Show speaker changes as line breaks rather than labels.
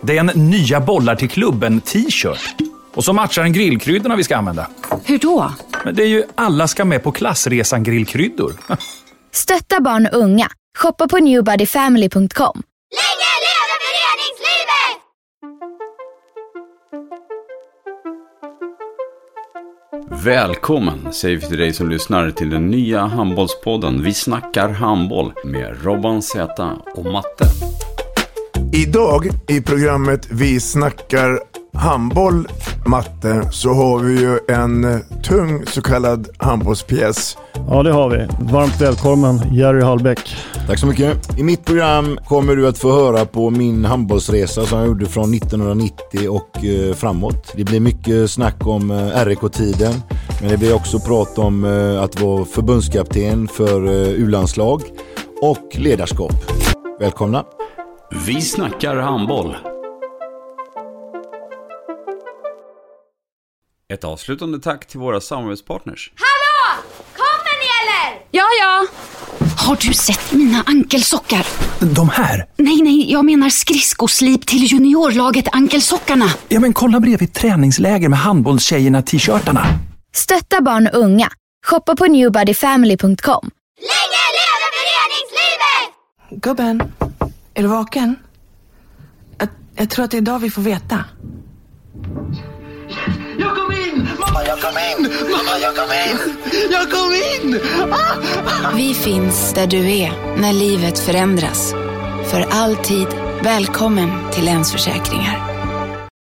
Det är en nya bollar till klubben-t-shirt. Och så matchar den grillkryddorna vi ska använda.
Hur då?
Men det är ju alla ska med på klassresan grillkryddor.
Stötta barn och unga. Shoppa på newbodyfamily.com.
Länge leve föreningslivet!
Välkommen säger vi till dig som lyssnar till den nya handbollspodden Vi snackar handboll med Robban Z och Matte.
Idag i programmet Vi snackar handboll, matte, så har vi ju en eh, tung så kallad handbollspjäs.
Ja, det har vi. Varmt välkommen Jerry Hallbäck.
Tack så mycket. I mitt program kommer du att få höra på min handbollsresa som jag gjorde från 1990 och eh, framåt. Det blir mycket snack om eh, RIK-tiden, men det blir också prat om eh, att vara förbundskapten för eh, U-landslag och ledarskap. Välkomna!
Vi snackar handboll. Ett avslutande tack till våra samarbetspartners.
Hallå! Kommer ni eller?
Ja, ja. Har du sett mina ankelsockar?
De här?
Nej, nej, jag menar skridskoslip till juniorlaget Ankelsockarna.
Ja, men kolla bredvid träningsläger med handbollstjejerna-t-shirtarna.
Stötta barn och unga. Shoppa på newbodyfamily.com.
Länge leve föreningslivet!
Gubben, är du vaken? Jag, jag tror att det är idag vi får veta.
Jag kom in! Mamma, jag kom in! Mamma, jag kom in! Jag kom in! Ah!
Vi
finns
där du är när livet förändras. För alltid välkommen till Länsförsäkringar.